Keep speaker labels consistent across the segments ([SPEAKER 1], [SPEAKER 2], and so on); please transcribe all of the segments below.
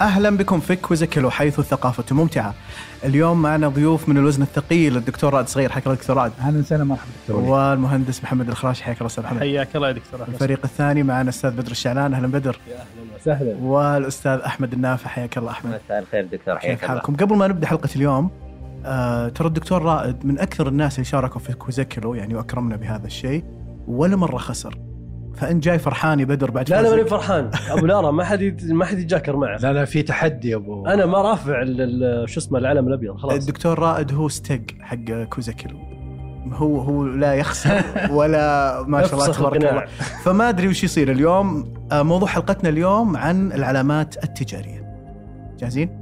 [SPEAKER 1] اهلا بكم في كويزيكلو حيث الثقافه ممتعه. اليوم معنا ضيوف من الوزن الثقيل الدكتور رائد صغير حياك الله دكتور رائد
[SPEAKER 2] اهلا وسهلا مرحبا دكتور وليد.
[SPEAKER 1] والمهندس محمد الخراش حياك الله استاذ محمد.
[SPEAKER 3] حياك الله يا دكتور أحمد.
[SPEAKER 1] الفريق الثاني معنا الاستاذ بدر الشعلان اهلا بدر
[SPEAKER 2] سهلا
[SPEAKER 1] والاستاذ احمد النافع حياك الله احمد.
[SPEAKER 4] مساء الخير دكتور
[SPEAKER 1] كيف
[SPEAKER 4] حياك الله
[SPEAKER 1] حالكم؟ قبل ما نبدا حلقه اليوم آه ترى الدكتور رائد من اكثر الناس اللي شاركوا في كويزيكلو يعني واكرمنا بهذا الشيء ولا مره خسر. فانت جاي فرحان يا بدر بعد
[SPEAKER 3] لا انا
[SPEAKER 1] فوزك.
[SPEAKER 3] ماني فرحان ابو لارا ما حد يت- ما حد يتجاكر معه
[SPEAKER 2] لا لا في تحدي يا ابو
[SPEAKER 3] انا ما رافع ال- ال- شو اسمه العلم الابيض خلاص
[SPEAKER 1] إيه، الدكتور رائد هو ستيج حق كوزاكيلو هو هو لا يخسر ولا ما شاء الله
[SPEAKER 3] افسخ
[SPEAKER 1] تبارك
[SPEAKER 3] القناع.
[SPEAKER 1] الله فما ادري وش يصير اليوم آه، موضوع حلقتنا اليوم عن العلامات التجاريه جاهزين؟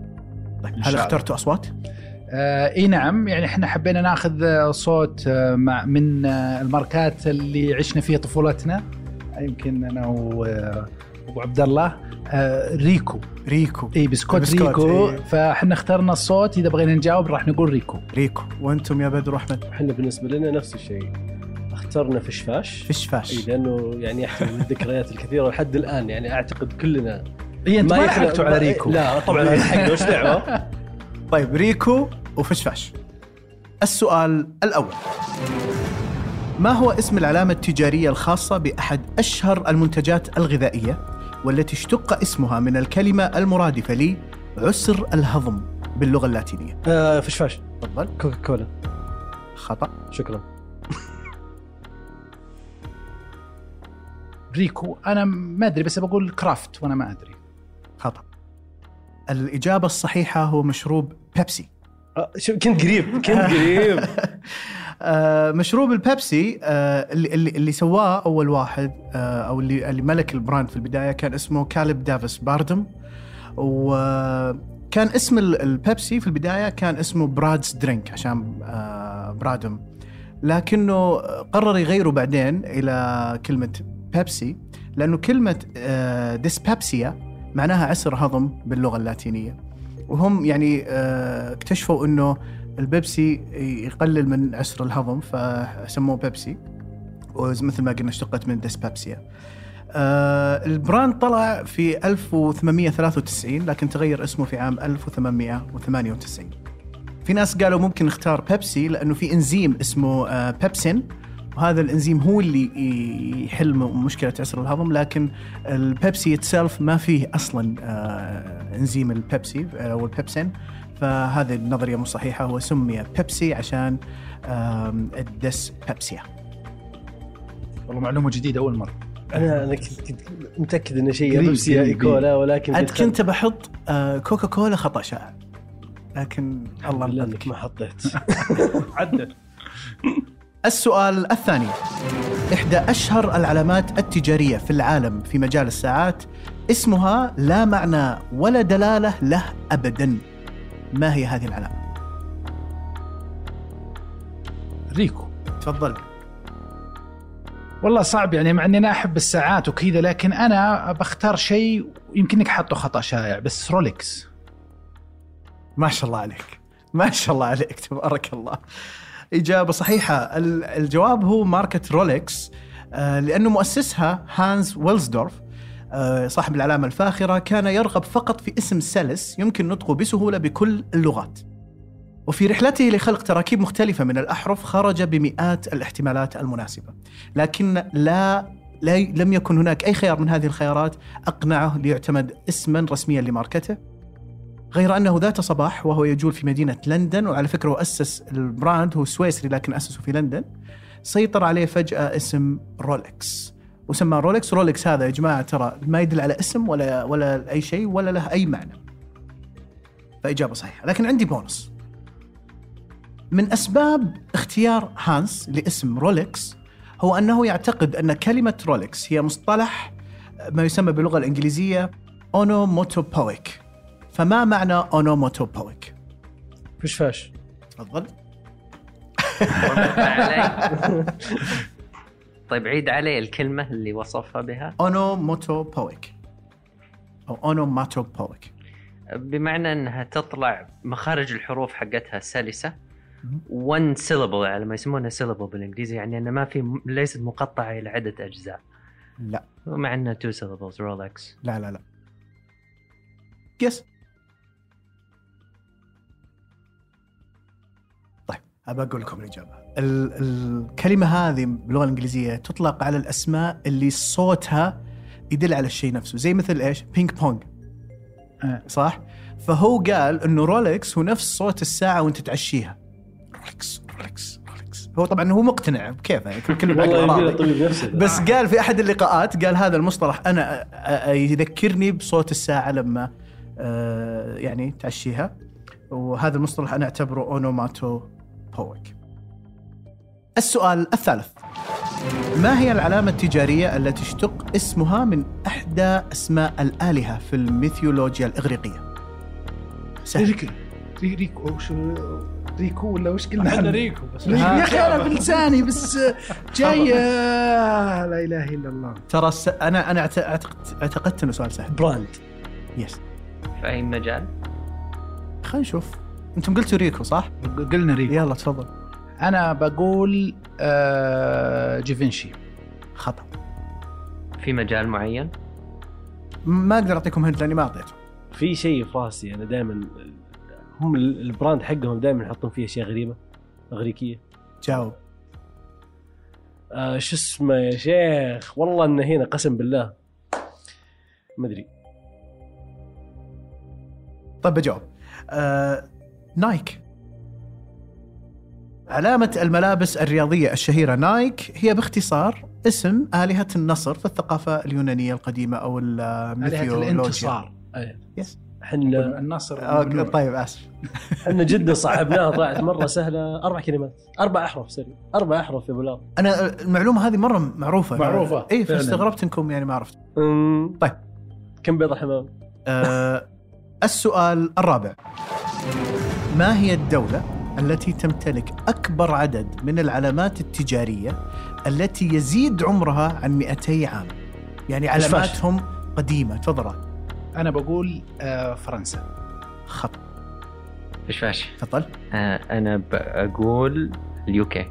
[SPEAKER 1] طيب
[SPEAKER 2] إن شاء
[SPEAKER 1] هل
[SPEAKER 2] الله.
[SPEAKER 1] اخترتوا اصوات؟
[SPEAKER 2] آه اي نعم يعني احنا حبينا ناخذ آه، صوت آه مع من آه الماركات اللي عشنا فيها طفولتنا يمكن انا و- آه، ابو عبد الله آه ريكو
[SPEAKER 1] ريكو
[SPEAKER 2] اي بسكوت,
[SPEAKER 1] بسكوت،
[SPEAKER 2] ريكو
[SPEAKER 1] إي.
[SPEAKER 2] فاحنا اخترنا الصوت اذا بغينا نجاوب راح نقول ريكو
[SPEAKER 1] ريكو وانتم يا بدر واحمد
[SPEAKER 3] احنا بالنسبه لنا نفس الشيء اخترنا فشفاش
[SPEAKER 1] فش
[SPEAKER 3] إي،
[SPEAKER 1] فاش
[SPEAKER 3] لانه يعني يحتوي الذكريات الكثيره لحد الان يعني اعتقد كلنا
[SPEAKER 2] اي انت ما
[SPEAKER 3] يخلق-
[SPEAKER 2] لحقتوا على
[SPEAKER 3] ما-
[SPEAKER 2] ريكو
[SPEAKER 3] لا طبعا هذا حقه وش دعوه
[SPEAKER 1] طيب ريكو وفش فاش السؤال الاول ما هو اسم العلامة التجارية الخاصة بأحد أشهر المنتجات الغذائية والتي اشتق اسمها من الكلمة المرادفة لعسر الهضم باللغة اللاتينية؟
[SPEAKER 3] آه، فشفاش
[SPEAKER 1] تفضل
[SPEAKER 3] كوكا كولا
[SPEAKER 1] خطأ
[SPEAKER 3] شكرا
[SPEAKER 2] ريكو انا ما ادري بس بقول كرافت وانا ما ادري
[SPEAKER 1] خطأ الإجابة الصحيحة هو مشروب بيبسي
[SPEAKER 3] آه، شو كنت قريب كنت قريب
[SPEAKER 1] آه، مشروب البيبسي آه، اللي اللي اللي سواه اول واحد آه، او اللي اللي ملك البراند في البدايه كان اسمه كالب دافيس باردم وكان اسم ال- البيبسي في البدايه كان اسمه برادز درينك عشان آه، برادم لكنه قرر يغيره بعدين الى كلمه بيبسي لانه كلمه آه، ديسبيبسيا معناها عسر هضم باللغه اللاتينيه وهم يعني آه، اكتشفوا انه البيبسي يقلل من عسر الهضم فسموه بيبسي ومثل ما قلنا اشتقت من ديسبابسيا آه البراند طلع في 1893 لكن تغير اسمه في عام 1898 في ناس قالوا ممكن نختار بيبسي لانه في انزيم اسمه آه بيبسين وهذا الانزيم هو اللي ي- يحل م- مشكله عسر الهضم لكن البيبسي اتسلف ما فيه اصلا آه انزيم البيبسي آه، او البيبسين فهذه النظريه مو صحيحه هو سمي بيبسي عشان آم، الدس بيبسيا
[SPEAKER 2] والله معلومه جديده اول مره
[SPEAKER 3] انا انا كنت كنت متاكد انه شيء يا
[SPEAKER 2] قريب،
[SPEAKER 3] بيبسي يا
[SPEAKER 2] قريب.
[SPEAKER 3] كولا ولكن
[SPEAKER 1] انت كنت بحط آه، كوكا كولا خطا شائع لكن الله
[SPEAKER 3] والله
[SPEAKER 1] انقذك
[SPEAKER 3] انك ما حطيت
[SPEAKER 2] عدل
[SPEAKER 1] السؤال الثاني إحدى أشهر العلامات التجارية في العالم في مجال الساعات اسمها لا معنى ولا دلالة له أبدا ما هي هذه العلامة؟
[SPEAKER 2] ريكو
[SPEAKER 1] تفضل
[SPEAKER 2] والله صعب يعني مع اني انا احب الساعات وكذا لكن انا بختار شيء يمكنك حاطه خطا شائع بس رولكس
[SPEAKER 1] ما شاء الله عليك ما شاء الله عليك تبارك الله إجابة صحيحة ال- الجواب هو ماركة رولكس آه، لأنه مؤسسها هانز ويلزدورف آه، صاحب العلامة الفاخرة كان يرغب فقط في اسم سلس يمكن نطقه بسهولة بكل اللغات وفي رحلته لخلق تراكيب مختلفة من الأحرف خرج بمئات الاحتمالات المناسبة لكن لا لا لم يكن هناك أي خيار من هذه الخيارات أقنعه ليعتمد اسما رسميا لماركته غير أنه ذات صباح وهو يجول في مدينة لندن وعلى فكرة هو أسس البراند هو سويسري لكن أسسه في لندن سيطر عليه فجاه اسم رولكس وسماه رولكس رولكس هذا يا جماعه ترى ما يدل على اسم ولا ولا اي شيء ولا له اي معنى فاجابه صحيحه لكن عندي بونص من اسباب اختيار هانس لاسم رولكس هو انه يعتقد ان كلمه رولكس هي مصطلح ما يسمى باللغه الانجليزيه اونوموتوبويك فما معنى اونوموتوبويك؟
[SPEAKER 3] فش فاش
[SPEAKER 1] تفضل
[SPEAKER 4] علي. طيب عيد علي الكلمة اللي وصفها بها
[SPEAKER 1] اونوموتوبويك او اونوماتوبويك
[SPEAKER 4] بمعنى انها تطلع مخارج الحروف حقتها سلسة one syllable على ما يسمونها syllable بالانجليزي يعني انها ما في ليست مقطعة الى عدة اجزاء
[SPEAKER 1] لا
[SPEAKER 4] مع انها two syllables رولكس
[SPEAKER 1] لا لا لا يس طيب ابى اقول لكم الاجابه ال- الكلمه هذه باللغه الانجليزيه تطلق على الاسماء اللي صوتها يدل على الشيء نفسه زي مثل ايش بينج بونج
[SPEAKER 2] آه.
[SPEAKER 1] صح فهو قال انه رولكس هو نفس صوت الساعه وانت تعشيها رولكس رولكس رولكس هو طبعا هو مقتنع بكيفه يعني كله بعقله
[SPEAKER 3] والله يبي
[SPEAKER 1] راضي.
[SPEAKER 3] له طبيب نفسي ذا.
[SPEAKER 1] بس قال في احد اللقاءات قال هذا المصطلح انا أ- أ- يذكرني بصوت الساعه لما آه، يعني تعشيها وهذا المصطلح انا اعتبره اونوماتو بويك. السؤال الثالث ما هي العلامة التجارية التي اشتق اسمها من إحدى أسماء الآلهة في الميثولوجيا الإغريقية؟ سهل
[SPEAKER 2] ريكو ريكو أو شو ريكو ولا وش قلنا
[SPEAKER 3] عندنا
[SPEAKER 2] عنه؟
[SPEAKER 3] ريكو بس
[SPEAKER 2] يا اخي انا بلساني بس جاي آه، لا اله الا الله
[SPEAKER 1] ترى الس- أنا أنا أعت- أعتقد اعتقدت إنه سؤال سهل
[SPEAKER 3] براند
[SPEAKER 1] يس
[SPEAKER 4] في اي مجال
[SPEAKER 1] خلينا نشوف أنتم قلتوا ريكو صح؟
[SPEAKER 2] قلنا ريكو
[SPEAKER 1] يلا تفضل
[SPEAKER 2] انا بقول آه، جيفنشي
[SPEAKER 1] خطأ
[SPEAKER 4] في مجال معين
[SPEAKER 1] ما اقدر اعطيكم هند لاني ما اعطيته
[SPEAKER 3] في شيء في راسي انا دائما هم ال- البراند حقهم دائما يحطون فيه اشياء غريبه اغريقيه
[SPEAKER 1] جاوب
[SPEAKER 3] آه شو اسمه يا شيخ والله انه هنا قسم بالله ما ادري
[SPEAKER 1] طيب بجاوب آه، نايك علامة الملابس الرياضية الشهيرة نايك هي باختصار اسم آلهة النصر في الثقافة اليونانية القديمة أو آه،
[SPEAKER 2] آلهة
[SPEAKER 1] الميثولوجيا
[SPEAKER 2] الانتصار
[SPEAKER 3] احنا
[SPEAKER 2] النصر
[SPEAKER 1] أوكي،
[SPEAKER 2] والنور.
[SPEAKER 1] طيب آسف
[SPEAKER 3] احنا جدا صعبناها طلعت مره سهله اربع كلمات اربع احرف سوري اربع احرف يا بلال
[SPEAKER 1] أنا المعلومة هذه مرة معروفة
[SPEAKER 2] معروفة،
[SPEAKER 1] إي
[SPEAKER 2] فعلاً.
[SPEAKER 1] فاستغربت إنكم يعني ما عرفت
[SPEAKER 3] أمم.
[SPEAKER 1] طيب.
[SPEAKER 3] كم بيضة حمام؟
[SPEAKER 1] آه، السؤال الرابع ما هي الدولة التي تمتلك أكبر عدد من العلامات التجارية التي يزيد عمرها عن 200 عام يعني
[SPEAKER 3] فاش.
[SPEAKER 1] علاماتهم قديمة تفضل راد.
[SPEAKER 2] انا بقول آه، فرنسا
[SPEAKER 1] خط
[SPEAKER 4] فش فاش
[SPEAKER 1] تفضل
[SPEAKER 4] آه انا بقول اليوكي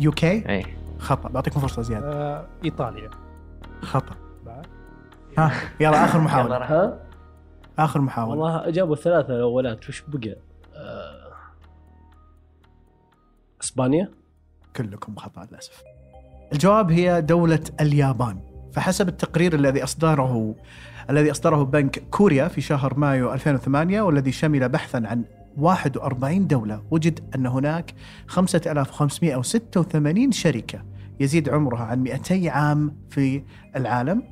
[SPEAKER 1] يو كي
[SPEAKER 4] اي
[SPEAKER 1] خطأ بعطيكم فرصة زيادة
[SPEAKER 3] آه، ايطاليا
[SPEAKER 1] خطأ ها يلا آخر
[SPEAKER 4] يلا
[SPEAKER 1] محاولة
[SPEAKER 4] راح.
[SPEAKER 3] ها؟
[SPEAKER 1] آخر محاولة
[SPEAKER 3] والله جابوا الثلاثة الاولات وش بقى؟ آه، اسبانيا؟
[SPEAKER 1] كلكم خطأ للأسف الجواب هي دولة اليابان فحسب التقرير الذي أصدره الذي أصدره بنك كوريا في شهر مايو 2008 والذي شمل بحثا عن 41 دولة وجد أن هناك 5586 شركة يزيد عمرها عن 200 عام في العالم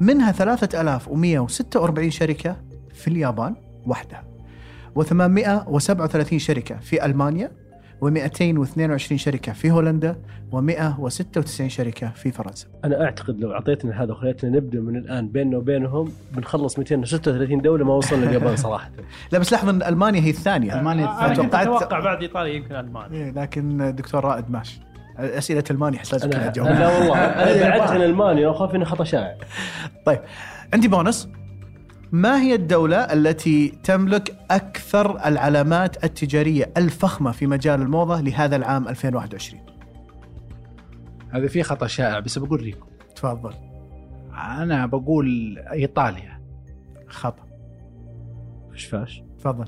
[SPEAKER 1] منها 3146 شركة في اليابان وحدها و837 شركة في ألمانيا و222 شركة في هولندا و196 شركة في فرنسا
[SPEAKER 3] انا اعتقد لو اعطيتنا هذا وخليتنا نبدا من الان بيننا وبينهم بنخلص 236 دولة ما وصلنا اليابان صراحة
[SPEAKER 1] لا بس لحظة إن ألمانيا هي الثانية
[SPEAKER 2] ألمانيا
[SPEAKER 1] أنا
[SPEAKER 2] الثانية
[SPEAKER 1] كنت
[SPEAKER 2] توقعت
[SPEAKER 1] توقعت-
[SPEAKER 3] اتوقع بعد ايطاليا يمكن المانيا
[SPEAKER 1] إيه، لكن الدكتور رائد ماش أسئلة ألمانيا أحس لازم كلها
[SPEAKER 3] انا
[SPEAKER 1] تجاوب
[SPEAKER 3] لا والله انا بعدت عن المانيا وخاف اني خطا شائع
[SPEAKER 1] طيب عندي بونص ما هي الدولة التي تملك أكثر العلامات التجارية الفخمة في مجال الموضة لهذا العام 2021
[SPEAKER 2] هذا في خطا شائع بس بقول ريكو
[SPEAKER 1] تفضل
[SPEAKER 2] انا بقول ايطاليا
[SPEAKER 1] خطأ
[SPEAKER 3] وش فاش؟
[SPEAKER 1] تفضل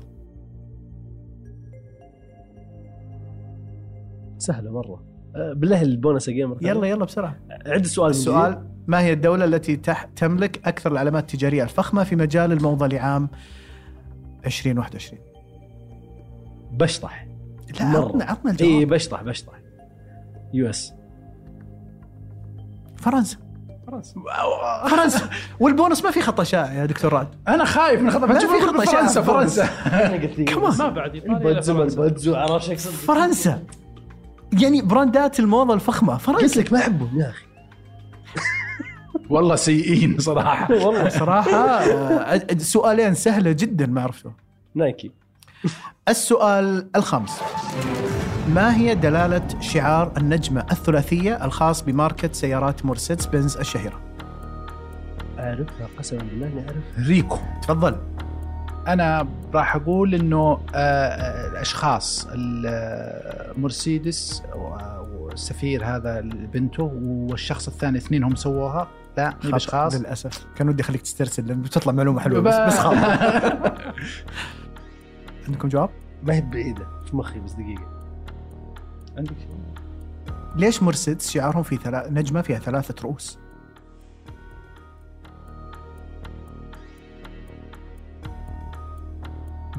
[SPEAKER 3] سهلة مرة آه، بالله البونس يا جيمر
[SPEAKER 1] يلا يلا بسرعة
[SPEAKER 3] عد السؤال من جديد.
[SPEAKER 1] السؤال ما هي الدولة التي تح تملك أكثر العلامات التجارية الفخمة في مجال الموضة لعام 2021
[SPEAKER 3] بشطح
[SPEAKER 1] لا
[SPEAKER 3] مرة.
[SPEAKER 1] عطنا عطنا
[SPEAKER 3] اي إيه.
[SPEAKER 1] الجواب
[SPEAKER 3] بشطح بشطح يو اس
[SPEAKER 1] فرنسا فرنسا والبونص ما في خطه شائعه يا دكتور رعد
[SPEAKER 2] انا خايف من خطه
[SPEAKER 1] لا
[SPEAKER 2] بتشوف
[SPEAKER 1] في
[SPEAKER 2] يقول
[SPEAKER 1] خطة
[SPEAKER 2] فرنسا
[SPEAKER 1] شائعة.
[SPEAKER 2] فرنسا
[SPEAKER 1] كمان
[SPEAKER 5] ما بعد ايطاليا إلا
[SPEAKER 3] البتزو ما
[SPEAKER 5] فرنسا.
[SPEAKER 3] البتزو عرفت شو اقصد؟
[SPEAKER 1] فرنسا يعني براندات الموضه الفخمه فرنسا
[SPEAKER 3] ما احبهم يا اخي
[SPEAKER 2] والله سيئين صراحه
[SPEAKER 3] والله
[SPEAKER 1] صراحه آه، سؤالين سهله جدا ما عرفته
[SPEAKER 3] نايكي
[SPEAKER 1] السؤال الخامس ما هي دلالة شعار النجمة الثلاثية الخاص بماركة سيارات مرسيدس بنز الشهيرة؟
[SPEAKER 3] اعرفها قسما بالله اني اعرفها
[SPEAKER 2] ريكو
[SPEAKER 1] تفضل
[SPEAKER 2] انا راح اقول انه آه، آه، الاشخاص ال- آه، مرسيدس و- والسفير هذا بنته والشخص الثاني اثنين هم سووها لا مي
[SPEAKER 1] خاص
[SPEAKER 2] باشخاص
[SPEAKER 1] للأسف كان ودي أخليك تسترسل لأن بتطلع معلومة حلوة بس, بس خاطر عندكم جواب؟
[SPEAKER 3] ما هي بعيده في مخي بس دقيقه عندك شيء؟
[SPEAKER 1] ليش مرسيدس شعارهم في ثلا... نجمة فيها ثلاثة رؤوس؟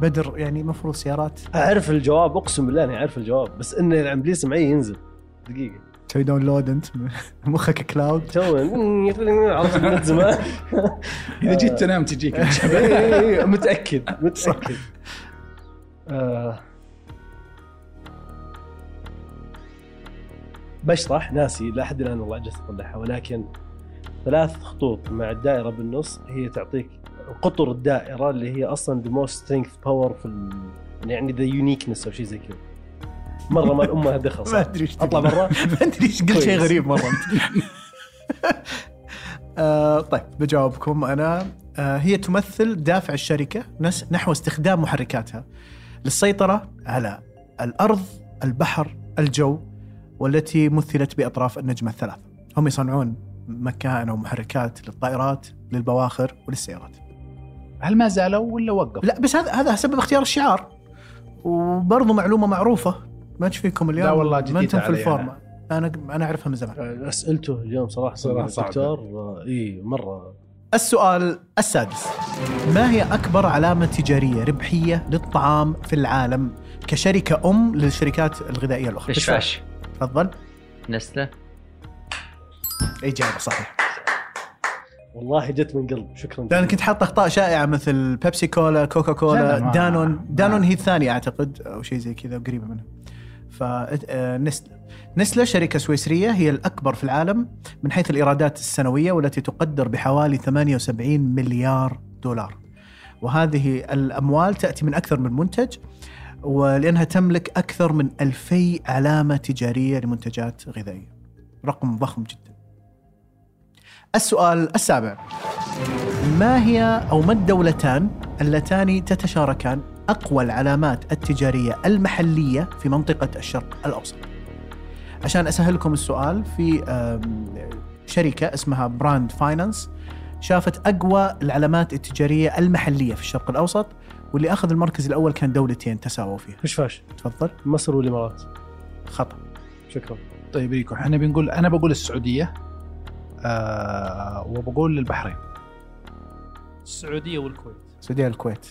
[SPEAKER 1] بدر يعني مفروض سيارات
[SPEAKER 3] اعرف الجواب اقسم بالله اني اعرف الجواب بس ان الامبليس معي ينزل دقيقه
[SPEAKER 1] تسوي داونلود انت مخك كلاود
[SPEAKER 3] تو عرفت من زمان
[SPEAKER 2] اذا جيت تنام تجيك
[SPEAKER 1] إيه،
[SPEAKER 3] إي، إي، إي، متاكد متاكد آه. بشرح ناسي لحد الان والله عجزت اطلعها ولكن ثلاث خطوط مع الدائره بالنص هي تعطيك قطر الدائره اللي هي اصلا the most strength power في ال... يعني ذا يونيكنس او شيء زي كذا مره ما الامها دخل
[SPEAKER 1] ما
[SPEAKER 3] صح.
[SPEAKER 1] ادري ايش
[SPEAKER 3] اطلع
[SPEAKER 1] تقول.
[SPEAKER 3] برا
[SPEAKER 1] ما ادري ايش قلت شيء
[SPEAKER 3] كويس.
[SPEAKER 1] غريب مره انت آه، طيب بجاوبكم انا آه، هي تمثل دافع الشركه نس- نحو استخدام محركاتها للسيطره على الارض، البحر، الجو والتي مثلت باطراف النجمه الثلاث. هم يصنعون مكائن ومحركات للطائرات، للبواخر وللسيارات.
[SPEAKER 2] هل ما زالوا ولا وقف؟
[SPEAKER 1] لا بس هذا هذا سبب اختيار الشعار. وبرضه معلومه معروفه ما ايش فيكم اليوم
[SPEAKER 2] لا والله
[SPEAKER 1] ما انتم
[SPEAKER 2] جديدة
[SPEAKER 1] في
[SPEAKER 2] علي
[SPEAKER 1] الفورمه. انا انا اعرفها من زمان.
[SPEAKER 3] اسئلته اليوم صراحه
[SPEAKER 2] صراحة
[SPEAKER 3] الدكتور آه، اي مره
[SPEAKER 1] السؤال السادس ما هي أكبر علامة تجارية ربحية للطعام في العالم كشركة أم للشركات الغذائية الأخرى
[SPEAKER 4] دشاش
[SPEAKER 1] تفضل
[SPEAKER 4] نسله
[SPEAKER 1] إجابة صحيحة
[SPEAKER 3] والله جت من قلب شكرا
[SPEAKER 1] لأن كنت حاط أخطاء شائعة مثل بيبسي كولا كوكا
[SPEAKER 2] لا،
[SPEAKER 1] كولا
[SPEAKER 2] لا، ما-
[SPEAKER 1] دانون
[SPEAKER 2] ما-
[SPEAKER 1] دانون هي الثانية أعتقد أو شيء زي كذا قريبة منها ف آه، نسلة نسلة شركة سويسرية هي الأكبر في العالم من حيث الإيرادات السنوية والتي تقدر بحوالي 78 مليار دولار وهذه الأموال تأتي من أكثر من منتج ولأنها تملك أكثر من 2000 علامة تجارية لمنتجات غذائية رقم ضخم جدا السؤال السابع ما هي أو ما الدولتان اللتان تتشاركان أقوى العلامات التجارية المحلية في منطقة الشرق الأوسط عشان أسهلكم السؤال في أم، شركة اسمها براند فاينانس شافت أقوى العلامات التجارية المحلية في الشرق الأوسط واللي أخذ المركز الأول كان دولتين تساووا فيها
[SPEAKER 3] فشفاش
[SPEAKER 1] تفضل
[SPEAKER 3] مصر والامارات
[SPEAKER 1] خطأ
[SPEAKER 3] شكرا
[SPEAKER 2] طيب ريكو احنا بنقول انا بقول السعوديه آه وبقول البحرين
[SPEAKER 5] السعوديه والكويت
[SPEAKER 1] السعودية الكويت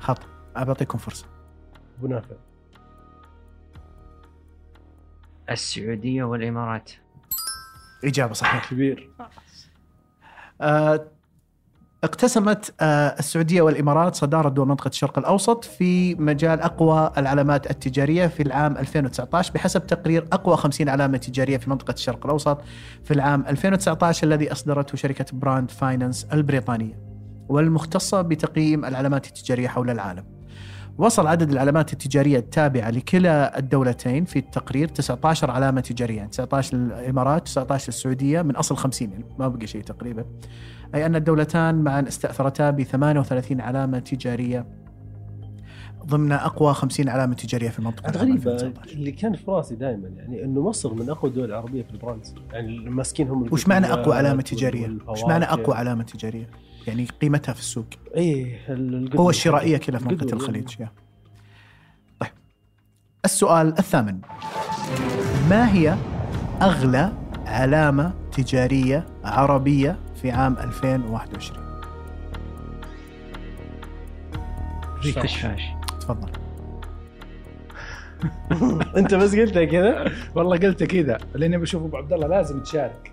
[SPEAKER 1] خطأ أعطيكم فرصة
[SPEAKER 3] ابو نافع
[SPEAKER 4] السعوديه والامارات
[SPEAKER 1] إجابة صحيحة
[SPEAKER 3] كبير
[SPEAKER 1] آه، اقتسمت آه، السعوديه والامارات صداره دول منطقه الشرق الاوسط في مجال اقوى العلامات التجاريه في العام 2019 بحسب تقرير اقوى 50 علامه تجاريه في منطقه الشرق الاوسط في العام 2019 الذي اصدرته شركه براند فاينانس البريطانيه والمختصه بتقييم العلامات التجاريه حول العالم. وصل عدد العلامات التجاريه التابعه لكلا الدولتين في التقرير 19 علامه تجاريه، يعني 19 للامارات، 19 للسعوديه من اصل 50 يعني ما بقي شيء تقريبا. أي أن الدولتان معا استأثرتا ب 38 علامة تجارية ضمن أقوى 50 علامة تجارية في المنطقة عام
[SPEAKER 3] غريبة
[SPEAKER 1] 2019.
[SPEAKER 3] اللي كان في راسي دائما يعني انه مصر من اقوى الدول العربية في البراندز يعني ماسكين هم
[SPEAKER 1] وش معنى أقوى
[SPEAKER 3] القطنيات
[SPEAKER 1] علامة تجارية؟
[SPEAKER 3] والفواكه.
[SPEAKER 1] وش معنى أقوى علامة تجارية؟ يعني قيمتها في السوق
[SPEAKER 3] اي ال- القطن.
[SPEAKER 1] قوة الشرائية كلها في
[SPEAKER 3] القطن
[SPEAKER 1] منطقة
[SPEAKER 3] يعني.
[SPEAKER 1] الخليج يا. طيب السؤال الثامن ما هي أغلى علامة تجارية عربية في عام 2021
[SPEAKER 4] دشاش
[SPEAKER 1] تفضل
[SPEAKER 3] انت بس قلتها كذا
[SPEAKER 2] والله قلت كذا لاني بشوف ابو عبد الله لازم تشارك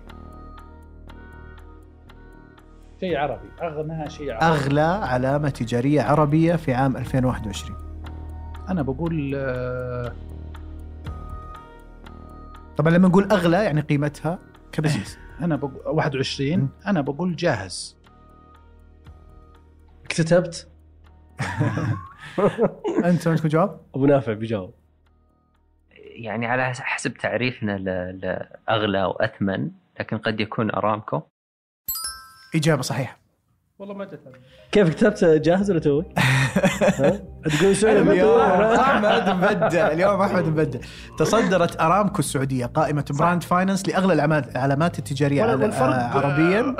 [SPEAKER 2] شيء عربي اغنى شيء عربي
[SPEAKER 1] اغلى علامه تجاريه عربيه في عام 2021
[SPEAKER 2] انا بقول آه،
[SPEAKER 1] طبعا لما نقول اغلى يعني قيمتها كبزيز
[SPEAKER 2] انا بقول 21 انا بقول جاهز
[SPEAKER 3] اكتتبت
[SPEAKER 1] انت عندكم جواب؟
[SPEAKER 3] ابو نافع بيجاوب
[SPEAKER 4] يعني على حسب تعريفنا ل- لاغلى واثمن لكن قد يكون ارامكو
[SPEAKER 1] اجابه صحيحه
[SPEAKER 2] والله ما جت
[SPEAKER 3] كيف كتبت جاهز ولا توي؟ ها؟ تقول سوري ما
[SPEAKER 1] اليوم
[SPEAKER 3] توي.
[SPEAKER 1] احمد مبدع اليوم احمد مبدع تصدرت ارامكو السعوديه قائمه براند فاينانس لاغلى العما- العلامات التجاريه
[SPEAKER 2] ولا-
[SPEAKER 1] عل-
[SPEAKER 2] والفرق-
[SPEAKER 1] آه، عربيا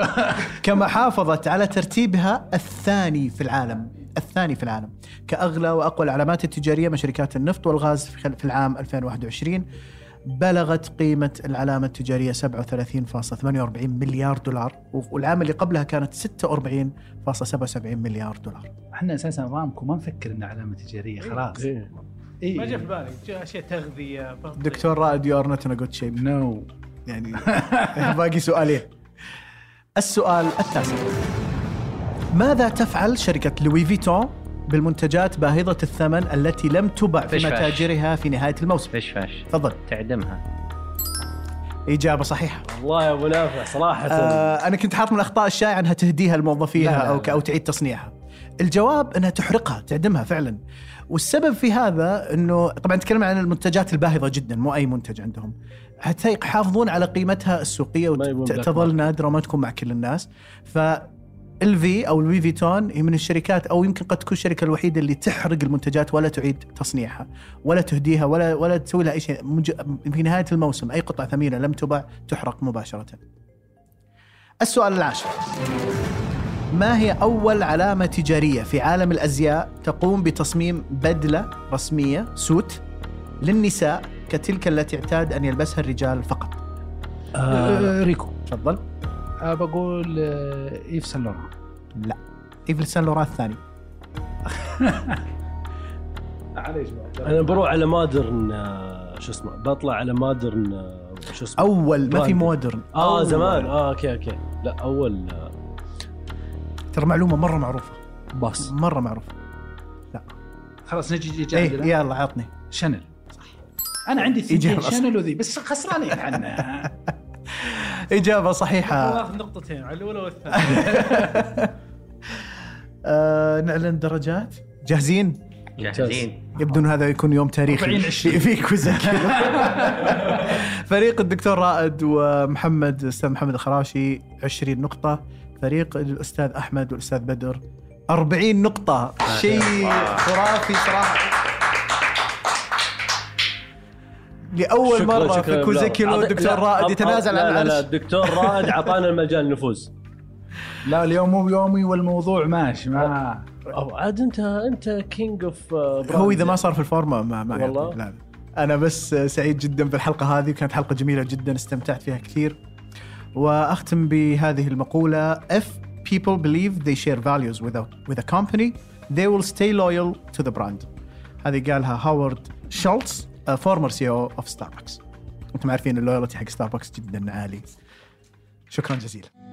[SPEAKER 1] كما حافظت على ترتيبها الثاني في العالم الثاني في العالم كاغلى واقوى العلامات التجاريه من شركات النفط والغاز في خل- في العام 2021 بلغت قيمة العلامة التجارية 37.48 مليار دولار والعام اللي قبلها كانت 46.77 مليار دولار
[SPEAKER 2] احنا اساسا رامكو ما نفكر انها علامه تجاريه خلاص
[SPEAKER 3] إيه.
[SPEAKER 2] إيه.
[SPEAKER 5] ما جاء في بالي جاء اشياء تغذيه بطيء.
[SPEAKER 1] دكتور رائد يو ار نوت ان جود شيب
[SPEAKER 2] نو
[SPEAKER 1] يعني باقي سؤالين السؤال التاسع ماذا تفعل شركة لوي فيتون بالمنتجات باهظة الثمن التي لم تباع في
[SPEAKER 4] فش فاش.
[SPEAKER 1] متاجرها في نهاية الموسم
[SPEAKER 4] فش فش
[SPEAKER 1] تفضل
[SPEAKER 4] تعدمها
[SPEAKER 1] إجابة صحيحة
[SPEAKER 3] والله يا ابو نافع صراحه
[SPEAKER 1] آه أنا كنت حاط من الأخطاء الشائعة أنها تهديها لموظفيها
[SPEAKER 2] لا، لا،
[SPEAKER 1] أو ك- أو تعيد تصنيعها الجواب أنها تحرقها تعدمها فعلا والسبب في هذا أنه طبعا نتكلم عن المنتجات الباهظة جدا مو أي منتج عندهم حتى يحافظون على قيمتها السوقيه
[SPEAKER 3] ما يبون بلاك
[SPEAKER 1] وتظل
[SPEAKER 3] ماركت.
[SPEAKER 1] نادره وما تكون مع كل الناس ف الفي او لوي فيتون هي من الشركات او يمكن قد تكون الشركه الوحيده اللي تحرق المنتجات ولا تعيد تصنيعها ولا تهديها ولا ولا تسوي لها اي شيء مج- في نهايه الموسم اي قطعه ثمينه لم تباع تحرق مباشره. السؤال العاشر ما هي اول علامه تجاريه في عالم الازياء تقوم بتصميم بدله رسميه سوت للنساء كتلك التي اعتاد ان يلبسها الرجال فقط
[SPEAKER 3] آه،
[SPEAKER 2] ريكو
[SPEAKER 1] تفضل
[SPEAKER 2] آه، بقول آه، ايف سان لوران
[SPEAKER 1] ايفل سان لوران الثاني
[SPEAKER 2] معليش بقى.
[SPEAKER 3] انا بروح على مودرن آه، شو اسمه بطلع على مودرن آه، شو اسمه
[SPEAKER 1] اول ما في
[SPEAKER 3] براند.
[SPEAKER 1] مودرن
[SPEAKER 3] اه
[SPEAKER 1] أول.
[SPEAKER 3] زمان اه اوكي اوكي لا اول آه،
[SPEAKER 1] ترى معلومه مره معروفه
[SPEAKER 3] باص
[SPEAKER 1] مره معروفه
[SPEAKER 2] خلاص نجي نجي
[SPEAKER 1] ايه
[SPEAKER 2] عندنا
[SPEAKER 1] يلا عطني
[SPEAKER 2] شانل انا عندي ثنتين
[SPEAKER 1] إجابة صح.
[SPEAKER 2] شانل وذي بس خسرانين عنها
[SPEAKER 1] اجابه صحيحه
[SPEAKER 5] واخذ نقطتين على الاولى والثانيه
[SPEAKER 1] آه نعلن درجات جاهزين
[SPEAKER 4] جاهزين
[SPEAKER 1] يبدو ان هذا يكون يوم
[SPEAKER 5] 40
[SPEAKER 1] تاريخي
[SPEAKER 5] 20.
[SPEAKER 1] في كوزك فريق الدكتور رائد ومحمد استاذ محمد الخراشي 20 نقطه فريق الاستاذ احمد والاستاذ بدر 40 نقطه
[SPEAKER 3] آه،
[SPEAKER 1] شيء خرافي صراحه لاول
[SPEAKER 3] شكراً-
[SPEAKER 1] مره
[SPEAKER 3] شكراً
[SPEAKER 1] في
[SPEAKER 3] بالله.
[SPEAKER 1] كوزيكيلو
[SPEAKER 3] عط-
[SPEAKER 1] الدكتور
[SPEAKER 3] لا،
[SPEAKER 1] رائد
[SPEAKER 3] عط-
[SPEAKER 1] يتنازل
[SPEAKER 3] لا
[SPEAKER 1] عن
[SPEAKER 3] لا لا
[SPEAKER 1] العرش
[SPEAKER 3] الدكتور رائد اعطانا المجال نفوز
[SPEAKER 2] لا اليوم مو يومي والموضوع ماشي ما
[SPEAKER 3] او عاد انت انت كينج اوف
[SPEAKER 1] هو اذا ما صار في الفورمه ما ما
[SPEAKER 3] يعني. والله؟
[SPEAKER 1] يعطيك. لا لا. انا بس سعيد جدا بالحلقه هذه كانت حلقه جميله جدا استمتعت فيها كثير واختم بهذه المقوله if people believe they share values with a with a company they will stay loyal to the brand هذه قالها هاورد شولتز فورمر سي او اوف ستاربكس انتم عارفين اللويالتي حق ستاربكس جدا عالي شكرا جزيلا